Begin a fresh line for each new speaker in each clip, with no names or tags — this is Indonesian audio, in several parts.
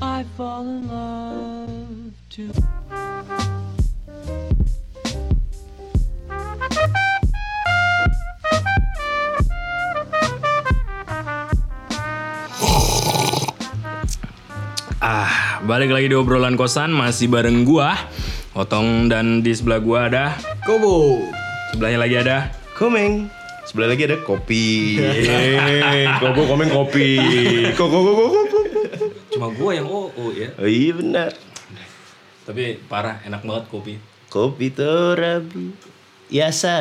I fall in love too.
Ah, balik lagi di obrolan kosan masih bareng gua, Otong dan di sebelah gua ada,
Kobo.
sebelahnya lagi ada.
Komeng. Sebelah lagi ada kopi.
Yeay, koko komen kopi.
Koko koko koko.
Cuma gua yang oh, oh ya.
Oh iya benar.
Tapi parah, enak banget kopi.
Kopi torabi. Ya, Biasa.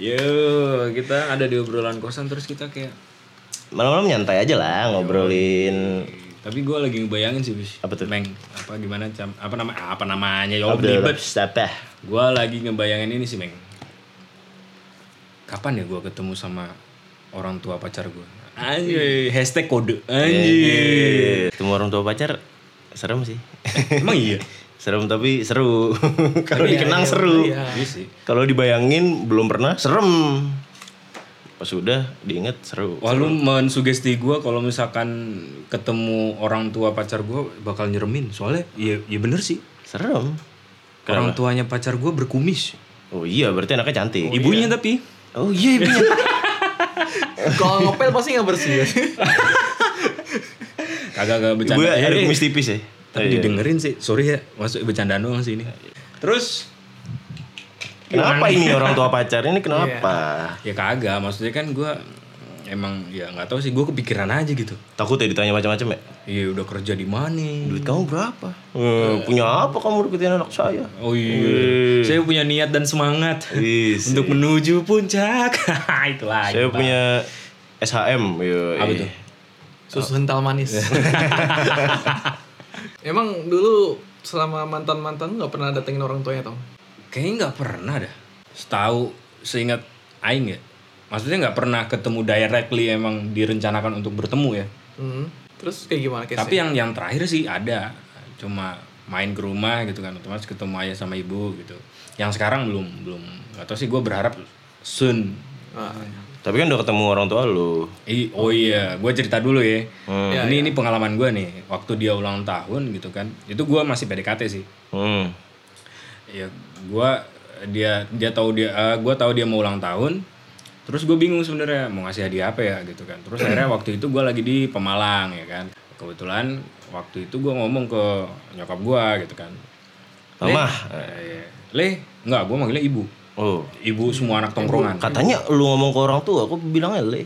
Yo, kita ada di obrolan kosan terus kita kayak
Malam-malam nyantai aja lah ngobrolin.
tapi gua lagi ngebayangin sih, Bis.
Apa tuh?
Meng, apa gimana cam, apa nama apa namanya? Ya
Ngobrol
ribet.
apa?
Gua lagi ngebayangin ini sih, Meng. Kapan ya gua ketemu sama orang tua pacar gua? Anjir, hashtag kode. Anjir.
Ketemu orang tua pacar serem sih.
Emang iya.
serem tapi seru. Kalau
Tapi iya,
dikenang seru.
iya. Iya sih.
Kalau dibayangin belum pernah serem. Pas udah diinget seru.
Wah lu mensugesti gue kalau misalkan ketemu orang tua pacar gue bakal nyeremin soalnya ya, ya bener sih
Serem.
orang tuanya pacar gue berkumis
Oh iya, berarti anaknya cantik.
ibunya tapi
Oh iya, ibunya.
Eh, Kalau ngepel pasti nggak bersih. ya?
kagak kagak bercanda
Ibunya
Eh,
ada
eh,
kumis tipis ya.
tapi didengerin sih sorry ya masuk bercandaan doang sih ini terus
Kenapa ini orang tua pacar ini kenapa?
ya kagak maksudnya kan gue emang ya nggak tahu sih gue kepikiran aja gitu
Takut ya ditanya macam-macam ya.
iya udah kerja di mana
Duit kamu berapa? Eh, punya apa kamu deketin anak saya?
oh iya saya punya niat dan semangat
Wis.
untuk menuju puncak itulah
saya
itulah.
punya SHM. Yo,
Apa
eh.
tuh?
Susu hental manis. Iya. Emang dulu selama mantan mantan nggak pernah datengin orang tuanya tau?
Kayaknya nggak pernah dah. Setahu seingat Aing ya. Maksudnya nggak pernah ketemu directly emang direncanakan untuk bertemu ya.
Hmm. Terus kayak gimana case?
Tapi yang yang terakhir sih ada. Cuma main ke rumah gitu kan otomatis ketemu ayah sama ibu gitu. Yang sekarang belum belum nggak tahu sih gue berharap soon.
Ah.
Tapi kan udah ketemu orang tua lu.
I, oh iya, gue cerita dulu ya. ini ini pengalaman gue nih. Waktu dia ulang tahun gitu kan, itu gue masih PDKT sih.
Hmm.
ya gua dia dia tahu dia eh, gua tahu dia mau ulang tahun terus gue bingung sebenarnya mau ngasih hadiah apa ya gitu kan terus akhirnya waktu itu gua lagi di Pemalang ya kan kebetulan waktu itu gua ngomong ke nyokap gua gitu kan
Mama.
Eh, le nggak gua manggilnya ibu
Oh.
ibu semua anak tongkrongan
Katanya lu ngomong ke orang tua, aku bilangnya le.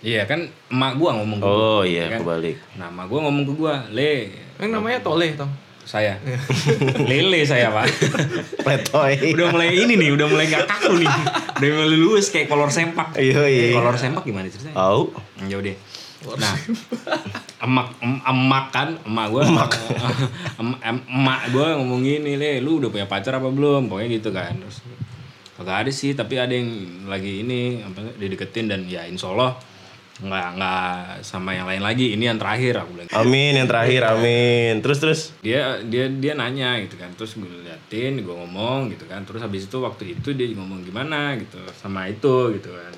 iya kan emak gua ngomong ke gua.
Oh iya,
kan?
kebalik.
nah emak gua ngomong ke gua le
yang namanya Toleh tau?
saya lele saya pak
Pletoy.
udah mulai ini nih udah mulai nggak kaku nih udah mulai luwes kayak kolor sempak
Iya, iya. Oh.
kolor sempak gimana ceritanya
Au.
Ya udah. Nah, emak em- emak kan emak gue emak emak gue ngomong gini le lu udah punya pacar apa belum pokoknya gitu kan terus kagak ada sih tapi ada yang lagi ini apa dideketin dan ya insya Allah nggak nggak sama yang lain lagi ini yang terakhir aku bilang
Amin yang terakhir, amin. Terus terus.
dia dia dia nanya gitu kan terus gue liatin gue ngomong gitu kan terus habis itu waktu itu dia ngomong gimana gitu sama itu gitu kan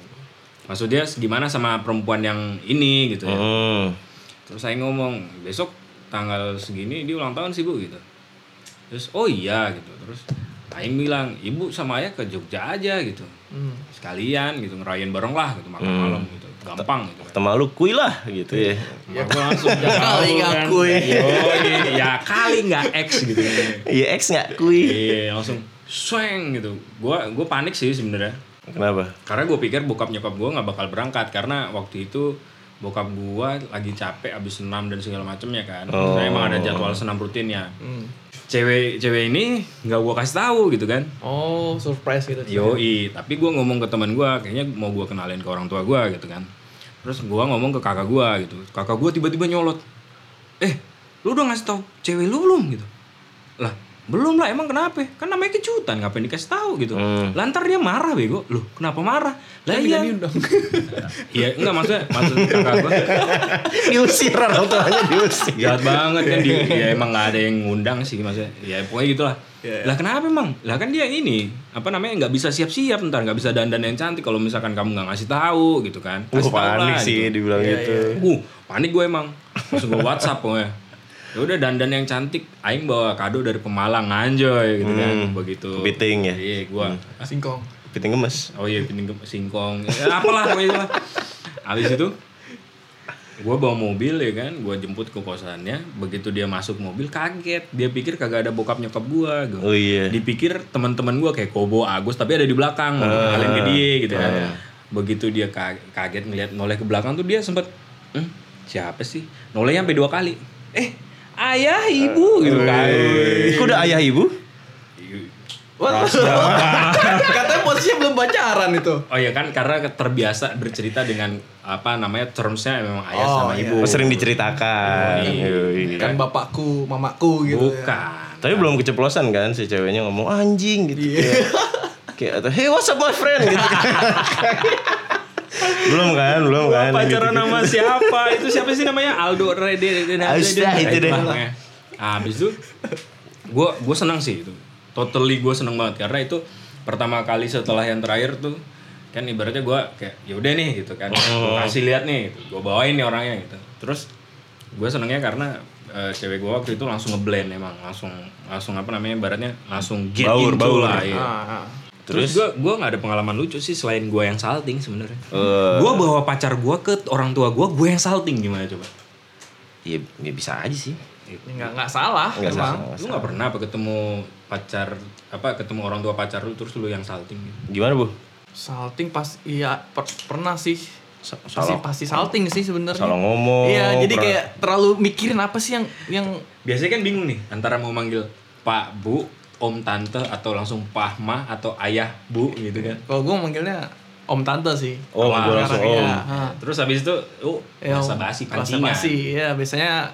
maksud dia gimana sama perempuan yang ini gitu ya
Hmm.
terus saya ngomong besok tanggal segini dia ulang tahun sih bu gitu terus oh iya gitu terus Aing bilang ibu sama ayah ke Jogja aja gitu
Hmm.
sekalian gitu ngerayain bareng lah gitu makan malam gitu gampang gitu kan
Tema lu kui lah gitu ya.
ya gue langsung kali
nggak
kui ya kali nggak X gitu kan
Iya, X nggak kui.
iya langsung sweng gitu gua gua panik sih sebenarnya
Kenapa?
karena gue pikir bokap nyokap gue nggak bakal berangkat karena waktu itu bokap gue lagi capek abis senam dan segala macemnya kan Terus
Oh.
emang ada jadwal senam rutinnya
Hmm.
cewek cewek ini nggak gue kasih tahu gitu kan
Oh surprise gitu.
yoi tapi gue ngomong ke teman gue kayaknya mau gue kenalin ke orang tua gue gitu kan terus gue ngomong ke kakak gue gitu kakak gue tiba-tiba nyolot eh lu udah ngasih tau cewek lu belum gitu lah belum lah emang kenapa kan namanya kejutan ngapain dikasih tahu gitu
Hmm.
lantar dia marah bego loh kenapa marah lah iya
diundang.
iya enggak maksudnya maksud kakak gua
diusir orang tuanya diusir
jahat banget kan dia ya emang nggak ada yang ngundang sih maksudnya ya pokoknya gitulah
Iya,
lah kenapa emang lah kan dia ini apa namanya nggak bisa siap-siap ntar nggak bisa dandan yang cantik kalau misalkan kamu nggak ngasih tahu gitu kan
Wah
Kasih tahu lah,
Uh, panik
gitu.
sih dibilang gitu.
Uh, panik gue emang. Terus gue WhatsApp gue. Ya udah dandan yang cantik, aing bawa kado dari Pemalang anjoy gitu kan.
Hmm,
Begitu.
kepiting ya?
Iya, gua.
Singkong.
Piting gemes.
Oh iya, kepiting ke- singkong. Ya, apalah pokoknya itulah. Habis itu gue bawa mobil ya kan, gue jemput ke kosannya. Begitu dia masuk mobil kaget, dia pikir kagak ada bokap nyokap gue. gitu.
Oh iya.
Dipikir teman-teman gue kayak Kobo, Agus, tapi ada di belakang,
Ah,
kalian ke dia gitu
iya,
kan. Begitu dia ka- kaget ngeliat noleh ke belakang tuh dia sempet, "Hmm, siapa sih? Nolehnya sampai dua kali. Eh, ayah, ibu gitu kan.
Eh, Kok udah ayah ibu?
Wah, katanya posisinya belum pacaran itu.
Oh iya kan karena terbiasa bercerita dengan apa namanya termsnya memang ayah
Oh,
sama
iya.
ibu.
Oh, iya. sering diceritakan. Yoi.
Kan bapakku, mamaku gitu. ya.
Bukan.
Tapi belum keceplosan kan si ceweknya ngomong anjing gitu. Kayak,
Iya.
kayak atau hey what's up my friend gitu. belum kan, belum
Gua
kan.
pacaran
gitu-gitu.
nama siapa? itu siapa sih namanya? Aldo Rede Rede
Astaga, Ah, itu deh.
Nah, habis itu gue gue senang sih itu. Totally gue senang banget karena itu pertama kali setelah yang terakhir tuh kan ibaratnya gue kayak ya udah nih gitu kan
Oh.
Gua kasih lihat nih gitu. gue bawain nih orangnya gitu terus gue senengnya karena eh, cewek gue waktu itu langsung ngeblend emang langsung langsung apa namanya ibaratnya langsung get into
Baur, baur.
lah iya.
Ah, ah.
Terus gue gue nggak ada pengalaman lucu sih selain gue yang salting sebenarnya.
Eh.
Gue bawa pacar gue ke orang tua gue, gue yang salting gimana coba?
Iya, ya bisa aja sih.
Ini nggak nggak salah,
Enggak
emang.
salah.
Lu nggak pernah apa ketemu pacar apa ketemu orang tua pacar lu terus lu yang salting? gitu?
Gimana, Bu?
Salting pas iya per- pernah sih.
Sa-
Pasti
Salah
pasti salting sih sebenarnya.
salah ngomong.
Iya, jadi
pernah-
kayak terlalu mikirin apa sih yang yang
Biasanya kan bingung nih antara mau manggil Pak Bu, Om Tante atau langsung Pahma atau Ayah Bu gitu kan?
kalau gue manggilnya om tante sih.
Oh, gue langsung
Karena-
om.
iya, ah.
Terus habis itu lu
Ya,
bahasa basi
bahasa
pancingan.
basi, ya biasanya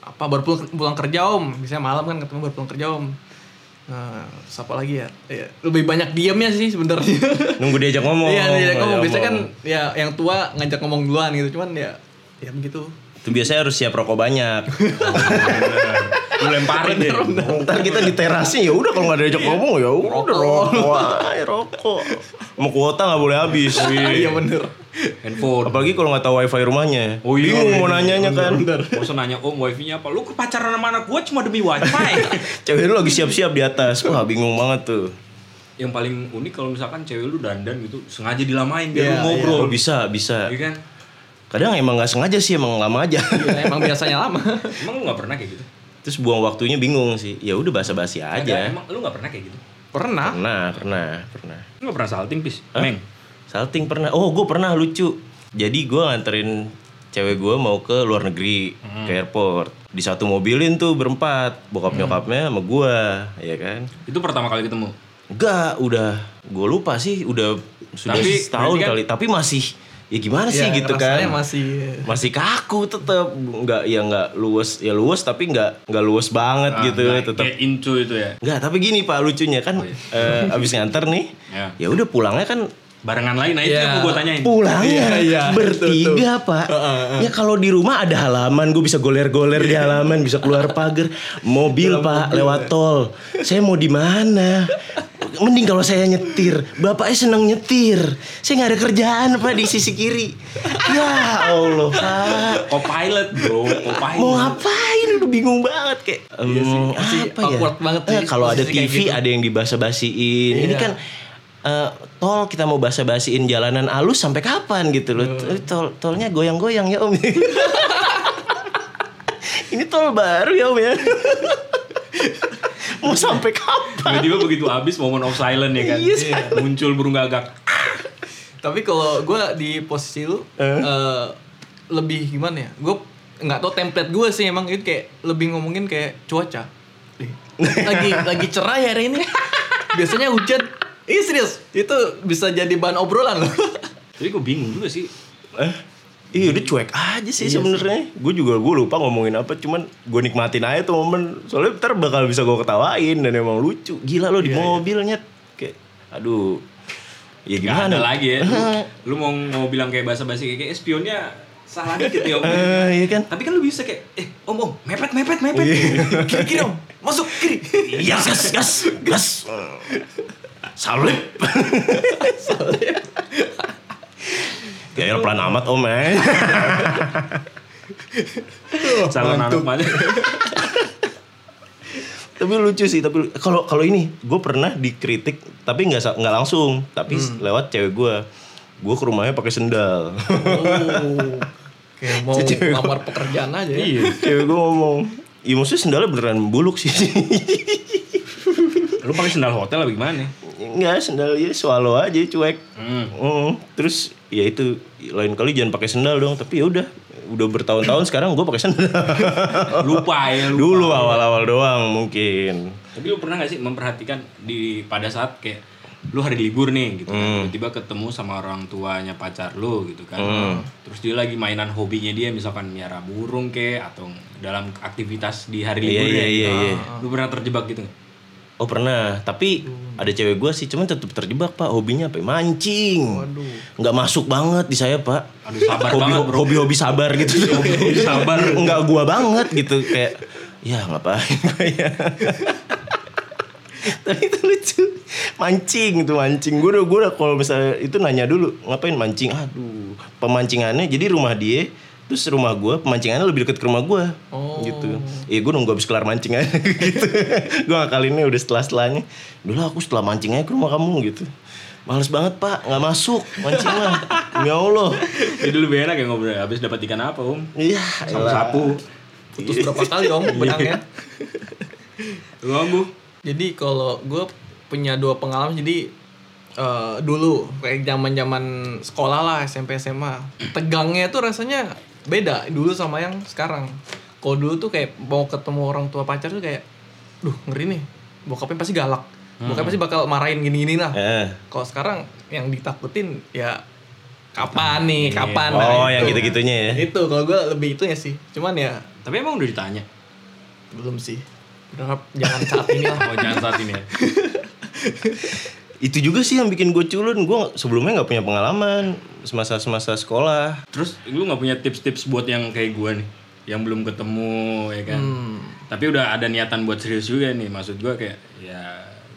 apa baru pulang, pulang kerja om, biasanya malam kan ketemu baru pulang kerja om. Nah, terus apa lagi ya? Ya, lebih banyak diamnya sih sebenarnya.
Nunggu diajak ngomong.
Iya, diajak ngomong. Biasanya kan
ngomong.
ya yang tua ngajak ngomong duluan gitu, cuman ya ya begitu.
itu biasanya harus siap rokok banyak.
Lu lemparin deh.
Ntar kita di terasnya ya udah kalau nggak
Iya.
diajak ngomong ya udah rokok, ay, rokok. Mau kuota nggak boleh habis.
Iya bener.
Handphone.
Apalagi kalau nggak tahu wifi rumahnya.
Oh iya,
Bingung
iya,
mau
iya,
nanyanya kan.
Mau nanya om wifi-nya apa? Lu kepacaran sama anak gue cuma demi wifi.
Cewek lu lagi siap-siap di atas. Wah bingung banget tuh.
yang paling unik kalau misalkan cewek lu dandan gitu sengaja dilamain biar
Iya,
lu ngobrol
Oh bisa, bisa.
Iya kan
Kadang emang nggak sengaja sih, emang lama aja.
Ya, emang biasanya lama.
emang lu nggak pernah kayak gitu
Terus buang waktunya bingung sih. Ya udah basa-basi
Kagak,
aja.
emang lu nggak pernah kayak gitu
Pernah.
Pernah, pernah, pernah.
lu nggak pernah salting pis
Hah?
meng
Salting pernah. Oh, gue pernah lucu. Jadi gue nganterin cewek gue mau ke luar negeri,
Hmm.
ke airport. Di satu mobilin tuh berempat, bokap nyokapnya sama gue, ya kan?
itu pertama kali ketemu
Enggak, udah. Gue lupa sih, udah sudah
Tapi,
setahun
berarti kan-
kali. Tapi masih, ya gimana sih
Iya,
gitu
rasanya
kan?
masih
masih kaku tetap nggak ya nggak luwes ya luwes tapi nget nggak luwes banget gitu
Nah,
tetap
kayak into itu ya
nggak tapi gini pak lucunya kan eh, abis nganter nih
Ya.
ya udah pulangnya kan
barengan lain nah itu
Iya.
yang mau gue tanyain
pulangnya
iya,
bertiga pak ya kalau di rumah ada halaman gue bisa goler-goler
Iya.
di halaman bisa keluar pagar mobil pak lewat tol saya mau di mana mending kalau saya nyetir bapaknya senang nyetir saya nggak ada kerjaan pak di sisi kiri ya allah pak
co-pilot bro
mau
co-pilot
ngapain udah bingung banget kayak
Iya
em,
masih
apa ya
awkward banget
Eh,
sih,
kalau ada
posisi kayak
TV
gitu. Iya.
ada yang dibasa-basiin ini kan eh, tol kita mau basa-basiin jalanan alus sampai kapan gitu loh
Iya.
Eh, tol tolnya goyang-goyang ya om ini tol baru ya om ya mau sampai kapan
tiba-tiba begitu habis moment of silence ya kan
Iya,
muncul burung gagak
Tapi kalau gue di posisi lu eh, lebih gimana ya? Gue nggak tau template gue sih emang itu kayak lebih ngomongin kayak cuaca. Ih, Lagi lagi cerah ya hari ini. Biasanya hujan. Ih serius, itu bisa jadi bahan obrolan loh.
tapi gue bingung juga sih
Iya udah cuek aja sih sebenarnya. Gue juga gue lupa ngomongin apa, cuman gue nikmatin aja tuh momen. Soalnya ntar bakal bisa gue ketawain dan emang lucu. Gila lo di mobilnya kayak, aduh. Ya
Gak
gimana?
ada lagi ya. Lu, lu mau mau bilang kayak bahasa-basi kayak, kayak "Eh, spionnya salah dikit ya. Om."
Eh, iya kan?
Tapi kan lu bisa kayak eh om om mepet mepet mepet.
kiri kiri om masuk kiri
Iya, gas, gas, gas. Salib. Gaya pelan amat om eh. Iya.
Salah naruh banget.
tapi lucu sih tapi lu- kalau kalau ini gue pernah dikritik tapi nggak sa- nggak langsung tapi lewat cewek gue gue ke rumahnya pakai sendal
Oh. kayak mau
Cewek.
lamar pekerjaan aja ya.
cewek gue ngomong Iya maksudnya sendalnya beneran buluk sih
Lu pakai sandal hotel apa gimana?
Enggak sendal ya swallow aja cuek
Hmm.
Mm, Terus ya itu lain kali jangan pakai sendal dong Tapi ya udah udah bertahun-tahun sekarang gue pakai sendal
Lupa ya lupa.
Dulu awal-awal doang mungkin
Tapi lu pernah gak sih memperhatikan di pada saat kayak lu hari libur nih gitu kan,
Hmm.
tiba-tiba ketemu sama orang tuanya pacar lu gitu kan.
Hmm.
Terus dia lagi mainan hobinya dia misalkan miara burung kayak atau dalam aktivitas di hari
Iya,
libur
iya,
ya. gitu.
iya, iya.
Lu pernah terjebak gitu nggak?
Oh pernah, tapi ada cewek gue sih, cuman tetap terjebak pak. Hobinya apa? ya? Mancing. Nggak masuk banget di saya pak.
Aduh, sabar
hobi,
banget, bro.
hobi hobi sabar gitu.
Hobi-hobi sabar.
Nggak gua banget gitu kayak. Ya ngapain gua ya. Tapi itu lucu. Mancing itu mancing. Gue udah, gue udah kalau misalnya itu nanya dulu ngapain mancing. Aduh, pemancingannya jadi rumah dia terus rumah gue pemancingannya lebih deket ke rumah gue
Oh.
gitu ya gue nunggu habis kelar mancing aja gitu gue ngakalinnya udah setelah setelahnya dulu aku setelah mancing aja ke rumah kamu gitu males banget pak nggak masuk mancing mah ya allah
Jadi lebih enak ya ngobrol habis dapat ikan apa, Om?
iya
Sama
elah.
sapu.
putus berapa kali om benangnya
Lu Om, Bu?
Jadi kalau gue punya dua pengalaman jadi eh, dulu kayak zaman zaman sekolah lah SMP SMA tegangnya tuh rasanya beda dulu sama yang sekarang. Kalau dulu tuh kayak mau ketemu orang tua pacar tuh kayak, duh ngeri nih, bokapnya pasti galak,
Hmm.
bokapnya pasti bakal marahin gini-gini lah.
Eh.
Kalau sekarang yang ditakutin ya kapan nih, kapan?
oh
Nah,
yang
itu.
gitu gitunya ya
Itu kalau gue lebih itunya sih, cuman ya
Tapi emang udah ditanya.
belum sih. Berharap jangan saat ini lah.
Oh, jangan saat ini ya.
itu juga sih yang bikin gue culun gue sebelumnya nggak punya pengalaman semasa semasa sekolah
Terus lu nggak punya tips-tips buat yang kayak gua nih, yang belum ketemu ya kan?
Hmm.
Tapi udah ada niatan buat serius juga nih, maksud gua kayak ya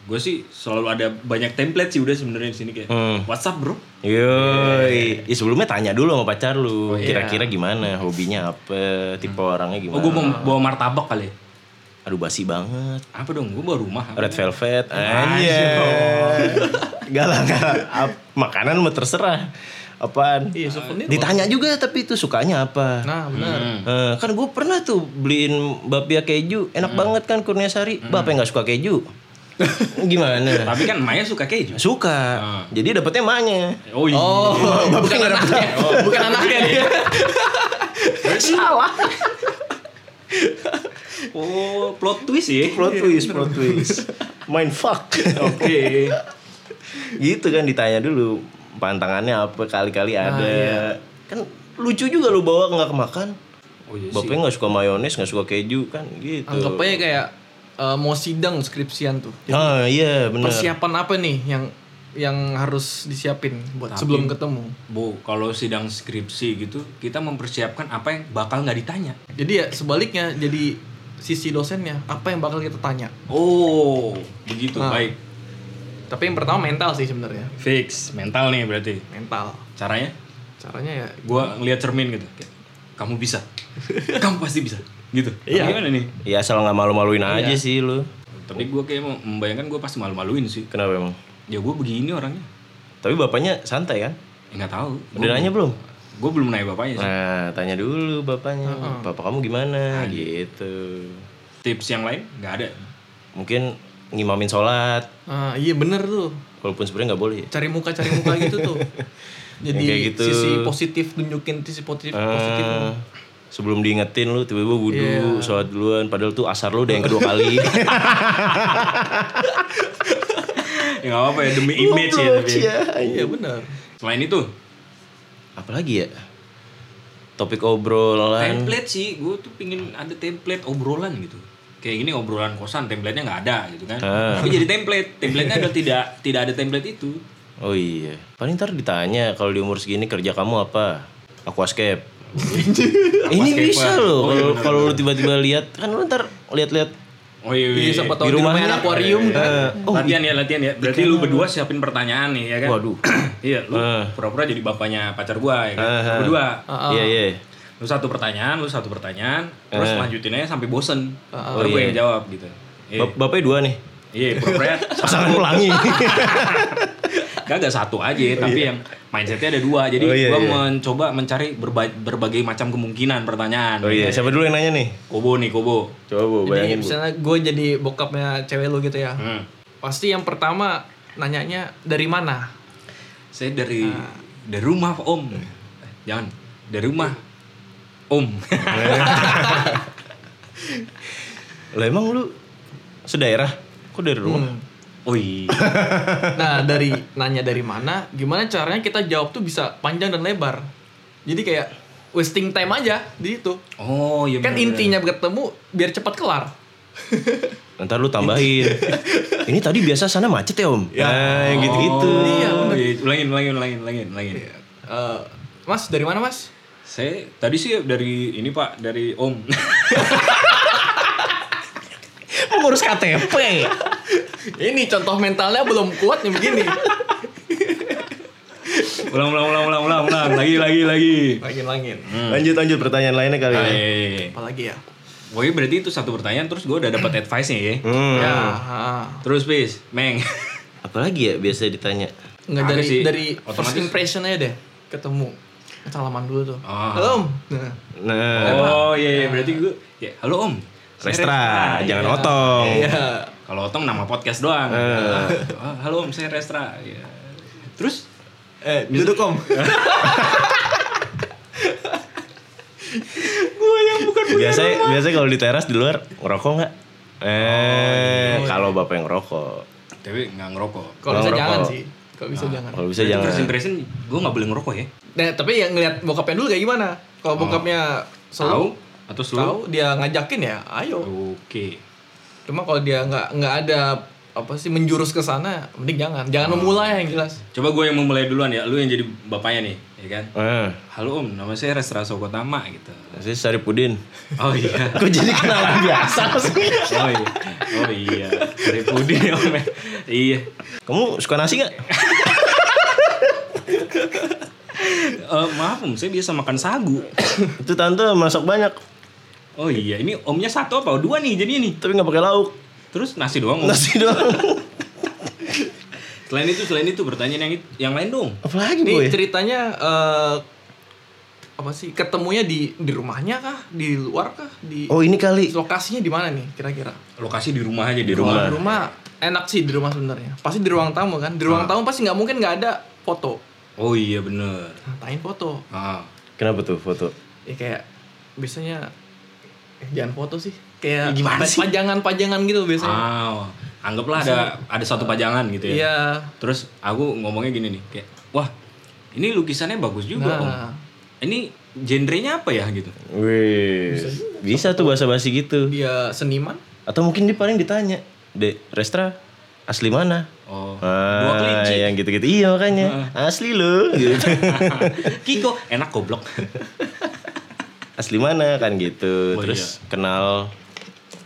gue sih selalu ada banyak template sih udah sebenarnya di sini kayak
Hmm.
WhatsApp bro.
Yoi, Oh, iya. ya sebelumnya tanya dulu sama pacar lu, kira-kira gimana, hobinya apa, tipe orangnya
Oh
gimana.
gue mau bawa martabak kali. ya?
Aduh basi banget.
Apa dong? Gue bawa rumah. apa?
Red Velvet aja. Enggak lah, enggak lah. Ap- Makanan mau terserah. Apaan?
Iya, souvenir.
Ditanya juga tapi itu sukanya apa.
Nah, benar.
Hmm.
Eh, kan gue pernah tuh beliin bapia keju, enak banget kan Kurnia Sari. Bapak nggak suka keju. Gimana?
Tapi kan Maya suka keju.
suka. Jadi dapetnya emaknya.
Oh iya.
Oh, bukan anaknya. Bukan anaknya dia.
Oh, plot twist ya.
Plot twist, plot twist. Oh. Main fuck.
Oke.
gitu kan ditanya dulu pantangannya apa kali-kali ada. Kan lucu juga lu bawa nggak kemakan.
Oh iya sih.
Bapaknya nggak suka mayones, nggak suka keju kan gitu.
Anggap aja kayak eh, mau sidang skripsian tuh.
Ah iya benar.
Persiapan apa nih yang yang harus disiapin buat sebelum ketemu?
Bu, kalau sidang skripsi gitu, kita mempersiapkan apa yang bakal nggak ditanya.
Jadi ya sebaliknya jadi sisi dosennya apa yang bakal kita tanya.
Oh, begitu.
Ah.
Baik.
Tapi yang pertama mental sih sebenarnya.
Fix, mental nih berarti.
Mental.
Caranya
Caranya ya
gua ngeliat cermin gitu. Kayak, Kamu bisa. Kamu pasti bisa. Gitu.
Iya.
Gimana nih?
Ya asal nggak malu-maluin aja sih lu.
Tapi gua kayak mau membayangkan gua pasti malu-maluin sih.
Kenapa emang?
Ya gua begini orangnya.
Tapi bapaknya santai kan?
Ya nggak tahu.
Udah nanya belum?
Gue belum nanya bapaknya sih.
Nah, tanya dulu bapaknya. Bapak kamu
Iya.
gimana? Gitu.
Tips yang lain nggak ada.
Mungkin ngimamin sholat,
ah, iya bener tuh.
walaupun sebenarnya nggak boleh
Iya.
ya.
Cari muka cari muka gitu tuh. Jadi
Yang kayak gitu.
sisi positif tunjukin sisi positif positif.
Eh, sebelum diingetin lu tiba-tiba wudhu
Iya.
sholat duluan padahal tuh asar lu udah yang kedua kali
Ya nggak apa-apa ya demi image ya. Tapi.
Iya bener.
Selain itu,
apalagi ya topik obrolan
template sih gue tuh pingin ada template obrolan gitu kayak gini obrolan kosan templatenya nggak ada gitu kan
Ah.
tapi jadi template templatenya udah tidak tidak ada template itu
oh iya paling ntar ditanya kalau di umur segini kerja kamu apa aquascape ini
Aquascape-an.
bisa
Oh, iya,
loh kalau
benar,
kalau lu tiba-tiba lihat kan lu ntar lihat-lihat
oh iya,
Iya,
iya.
siapa
Di
tahu di
rumahnya-
rumahnya akuarium kan.
eh, oh
latihan ya latihan ya berarti lu berdua siapin pertanyaan nih ya kan
Waduh.
iya lu
Eh.
pura-pura jadi bapaknya pacar gua ya kan
Eh, eh.
Lu berdua
iya iya
lu satu pertanyaan lu satu pertanyaan terus
Eh.
lanjutin aja sampai bosen
Ah,
baru
oh,
gue
iya.
yang jawab gitu iya
Bap- bapaknya dua nih
iya pura-pura
pasangan pelangi
Gak, gak satu aja, tapi yang mindsetnya ada dua. Jadi
iya. Oh, iya,
gua
iya.
mencoba mencari berba- berbagai macam kemungkinan pertanyaan.
oh iya siapa dulu yang nanya nih
Kobo nih, Kobo.
coba
Jadi
bu bayangin bu
misalnya gue jadi bokapnya cewek lu gitu ya.
Hmm.
Pasti yang pertama nanyanya dari mana?
Saya dari dari rumah Om.
Iya.
Eh, Jangan dari rumah Om.
lah emang lu sedaerah kok dari rumah
Oi.
Nah, dari nanya dari mana, gimana caranya kita jawab tuh bisa panjang dan lebar. Jadi kayak wasting time aja di itu.
Oh, iya.
Kan
bener-bener.
intinya ketemu biar cepat kelar.
Ntar lu tambahin. Ini tadi biasa sana macet ya om. Ya gitu-gitu. Iya.
Oh, iya, ulangin, ulangin, ulangin, ulangin, ulangin.
Eh, mas, dari mana, Mas?
Saya tadi sih dari ini Pak, dari Om.
Mengurus KTP.
Ini contoh mentalnya belum kuat nih begini.
ulang, ulang, ulang, ulang, ulang, ulang. Lagi, lagi, lagi.
Oh,
Langin-langin.
Lanjut lanjut pertanyaan lainnya kali ya.
Ah,
ini.
iya, iya, iya.
Apalagi ya?
Pokoknya berarti itu satu pertanyaan terus gue udah dapat advice-nya ya.
Hmm.
Ya, ah.
Terus bis, Meng.
Apalagi ya biasa ditanya.
Nggak
Ada
dari
sih,
dari first
otomatis.
impression aja deh ketemu. Salaman dulu tuh.
Ah.
Halo, Om. Nah.
Nah,
Oh iya, iya. berarti gue ya, halo Om. Saya
Restra, jangan
Iya.
otong.
Iya.
Kalau otong nama podcast doang.
Eh.
Oh, halo Om, saya Restra. Iya. Terus
Eh, duduk, Om.
Biasanya biasanya kalau di teras di luar ngerokok nggak? Oh, iya, Eh, kalau bapak yang ngerokok.
tapi nggak ngerokok.
Kalau bisa
Ngerokok.
jangan sih. Kalau
Ah.
bisa jangan.
Kalau bisa
Berarti
jangan.
First impression gue nggak boleh ngerokok ya.
Nah, tapi yang ngeliat bokapnya dulu kayak gimana?
Ah.
Kalau bokapnya
Tahu
selalu
atau slow?
tahu dia ngajakin ya, ayo.
Oke.
Cuma kalau dia nggak nggak ada apa sih menjurus ke sana, mending jangan.
Ah.
Jangan memulai yang jelas.
Coba gue yang memulai duluan ya. Lu yang jadi bapaknya nih, ya kan?
Eh,
Halo Om, nama saya Restra Sokotama gitu.
saya Saripudin.
Oh iya.
Kok jadi kenalan biasa sih?
Oh iya. Oh iya. Dari Pudin ya Om. ya. Iya.
Kamu suka nasi nggak?
Eh, maaf om, saya biasa makan sagu.
Itu tante masak banyak,
Oh iya, ini omnya satu apa dua nih jadinya nih.
tapi nggak pakai lauk.
Terus nasi doang. Om.
Nasi doang.
Selain itu, selain itu pertanyaan yang it- yang lain dong.
Apalagi
Ini
boy?
ceritanya eh apa sih? Ketemunya di di rumahnya kah? Di luar kah? Di
Oh ini
iya.
kali
lokasinya di mana nih kira-kira?
Lokasi di rumah aja di
Kalau
rumah.
Di rumah enak sih di rumah sebenarnya. Pasti di ruang tamu kan. Di
Ah.
ruang tamu pasti nggak mungkin nggak ada foto.
Oh iya bener.
Ngatain foto.
Ah.
Kenapa tuh foto?
ya kayak biasanya eh, jangan foto sih kayak
Ya, gimana
pa-
sih?
pajangan-pajangan gitu biasanya
Ah, anggaplah ada ada satu pajangan gitu ya.
iya
Terus aku ngomongnya gini nih, kayak wah ini lukisannya bagus juga om.
nah
Ini genrenya apa ya gitu?
Wih, bisa tuh basa-basi gitu.
dia seniman
Atau mungkin dia paling ditanya, Dek, Restra asli mana?
Oh, dua
Ah,
kelinci. Ah.
yang gitu-gitu. Iya makanya. Asli lo. Gitu.
Kiko enak goblok.
asli mana kan gitu.
Oh,
Terus kenal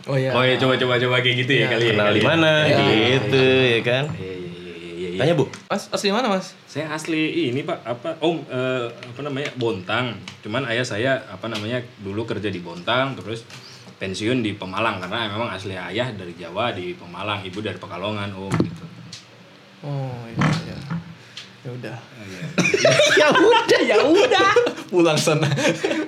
oh iya
Oh iya coba coba coba kayak gitu ya, kali ya.
kenal
kali
di
ya.
mana gitu ya kan.
Iya, iya, iya, iya, iya, iya.
Tanya, Bu.
mas asli mana mas
Saya asli ini pak apa om eh, apa namanya Bontang. Cuman ayah saya apa namanya dulu kerja di Bontang terus pensiun di Pemalang karena memang asli ayah dari Jawa di Pemalang, ibu dari Pekalongan om gitu.
oh iya iya ya udah
Oh, iya.
ya udah, ya udah.
pulang sana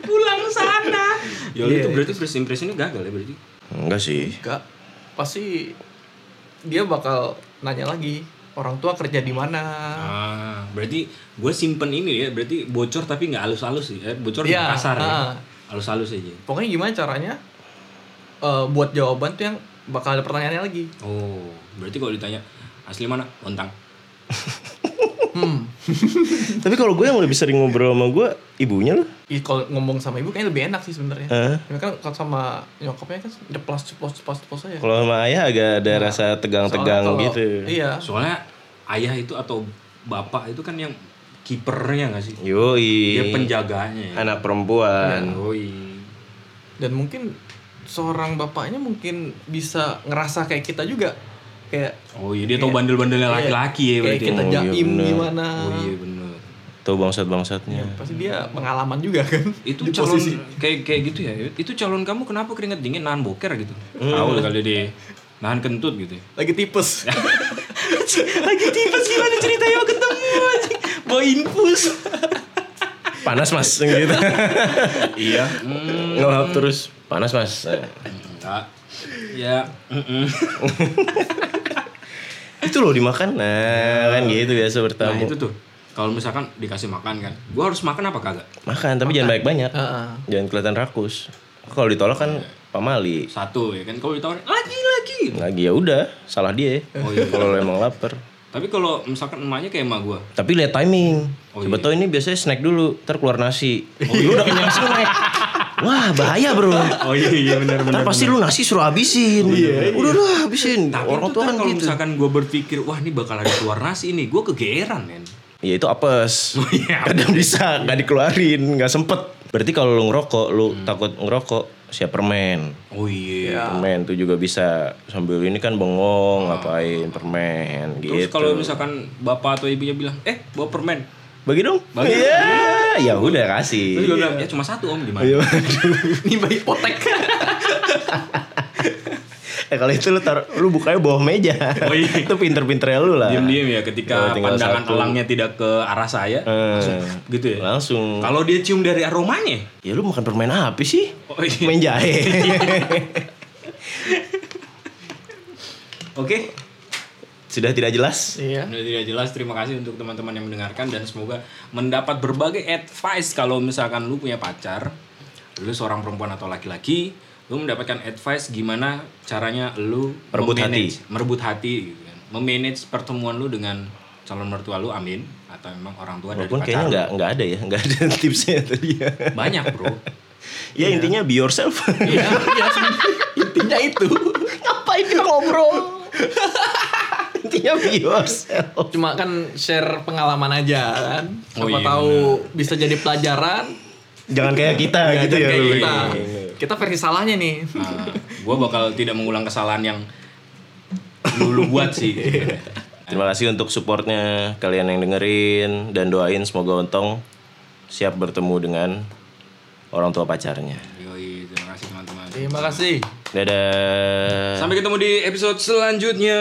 Pulang sana.
Iya,
Ya itu berarti first impression gagal ya berarti.
Enggak sih.
enggak pasti dia bakal nanya lagi orang tua kerja di mana
Ah, berarti gue simpen ini ya, berarti bocor tapi nggak halus-halus sih, eh, bocor nggak
Iya,
kasar ya,
ah.
halus-halus aja.
pokoknya gimana caranya eh, buat jawaban tuh yang bakal ada pertanyaannya lagi
Oh, berarti kalau ditanya asli mana? Bontang.
Hmm.
Tapi kalau gue yang lebih sering ngobrol sama gue ibunya loh.
Ih, kalau ngomong sama ibu kayaknya lebih enak sih sebenarnya.
Eh.
Tapi kan kalau sama nyokapnya kan ceplos ceplos ceplos ceplos aja.
Kalau sama ayah agak ada rasa
Soalnya
tegang-tegang
kalau-
gitu.
Iya.
Soalnya ayah itu atau bapak itu kan yang kipernya gak sih?
Yoi.
Dia penjaganya ya. Oh, iya.
Anak perempuan.
Yoi.
Dan mungkin seorang bapaknya mungkin bisa ngerasa kayak kita juga kayak
Oh iya dia tahu bandel-bandelnya laki-laki
kayak
ya berarti.
kita
Oh, iya
jaim
bener.
gimana.
Oh iya bener.
Tuh bangsat-bangsatnya.
Pasti dia pengalaman juga kan.
Itu
di
calon
posisi.
kayak kayak gitu ya. Itu calon kamu kenapa keringet dingin nahan boker gitu? Tahu kali dia nahan kentut gitu. ya.
lagi tipes.
Lagi tipes gimana ceritanya mau ketemu anjing. Mau infus. Panas mas gitu.
iya.
Ngelap terus. Panas mas.
Enggak. Ya. mm-mm.
Itu loh dimakan. Nah kan gitu biasa
Nah
bertamu.
itu tuh. Kalau misalkan dikasih makan kan, gue harus makan apa kagak?
Makan tapi jangan banyak-banyak.
Heeh.
Jangan kelihatan rakus. Kalau ditolak kan pamali.
Satu ya kan. Kalau ditawarin lagi lagi.
Lagi ya udah, salah dia. ya.
Oh, iya.
Kalau lo emang lapar.
Tapi kalau misalkan emaknya kayak emak gue,
Tapi lihat timing.
Oh,
Coba
iya.
tau ini biasanya snack dulu, ntar keluar nasi. Lu udah kenyang snack. Wah bahaya bro.
Oh iya iya benar
Ntar pasti lu nasi suruh habisin. Udah lah
Oh,
habisin.
iya, Tapi
Orang
itu
tua
kan
kan
kalau
gitu.
misalkan gue berpikir wah ini bakal ada keluar nasi ini, gue kegeeran men.
Ya itu apes.
Oh, iya,
Kadang bisa nggak dikeluarin, nggak sempet. Berarti kalau lu ngerokok, lu takut ngerokok, siap permen.
Oh Hmm. iya. Ah.
Permen tuh juga bisa sambil ini kan bengong ngapain permen
Terus
gitu.
kalau misalkan bapak atau ibunya bilang, eh bawa permen.
Bagi dong.
Bagi.
Iya, ya udah kasih.
Terus gue bilang, ya cuma satu om gimana?
Iya.
Ini bayi potek.
Eh kalau itu lu taruh, lu bukanya bawah meja.
Oh, iya.
itu pinter-pinternya lu lah.
Diam-diam ya ketika
Kalau Iya, tinggal
pandangan
satu.
elangnya tidak ke arah saya,
Eh,
langsung gitu ya.
Langsung.
Kalau dia cium dari aromanya,
Ya lu makan permen apa sih?
Oh, iya.
Main jahe.
oke.
Sudah tidak jelas.
Iya.
Sudah tidak jelas. Terima kasih untuk teman-teman yang mendengarkan dan semoga mendapat berbagai advice kalau misalkan lu punya pacar, lu seorang perempuan atau laki-laki, lu mendapatkan advice gimana caranya lu
Merebut
memanage- merebut hati, gitu kan. memanage pertemuan lu dengan calon mertua lu, amin, atau memang orang tua dari
Walaupun
pacar.
kayaknya
lu.
nggak nggak ada ya, nggak ada tipsnya tadi ya.
Banyak bro.
Ya intinya be yourself.
Iya, iya, intinya itu.
Ngapain kita ngobrol? intinya be yourself.
Cuma kan share pengalaman aja kan.
Oh,
Siapa
iya,
tahu bisa jadi pelajaran.
Jangan kayak kita
Jangan
gitu ya.
kayak
lu.
kita. Kita versi salahnya nih.
Nah, gue bakal tidak mengulang kesalahan yang lu, lu buat sih.
Iya. Terima kasih untuk supportnya kalian yang dengerin dan doain semoga Ontong siap bertemu dengan orang tua pacarnya.
Yoi, terima kasih teman-teman.
Terima kasih.
Dadah.
Sampai ketemu di episode selanjutnya.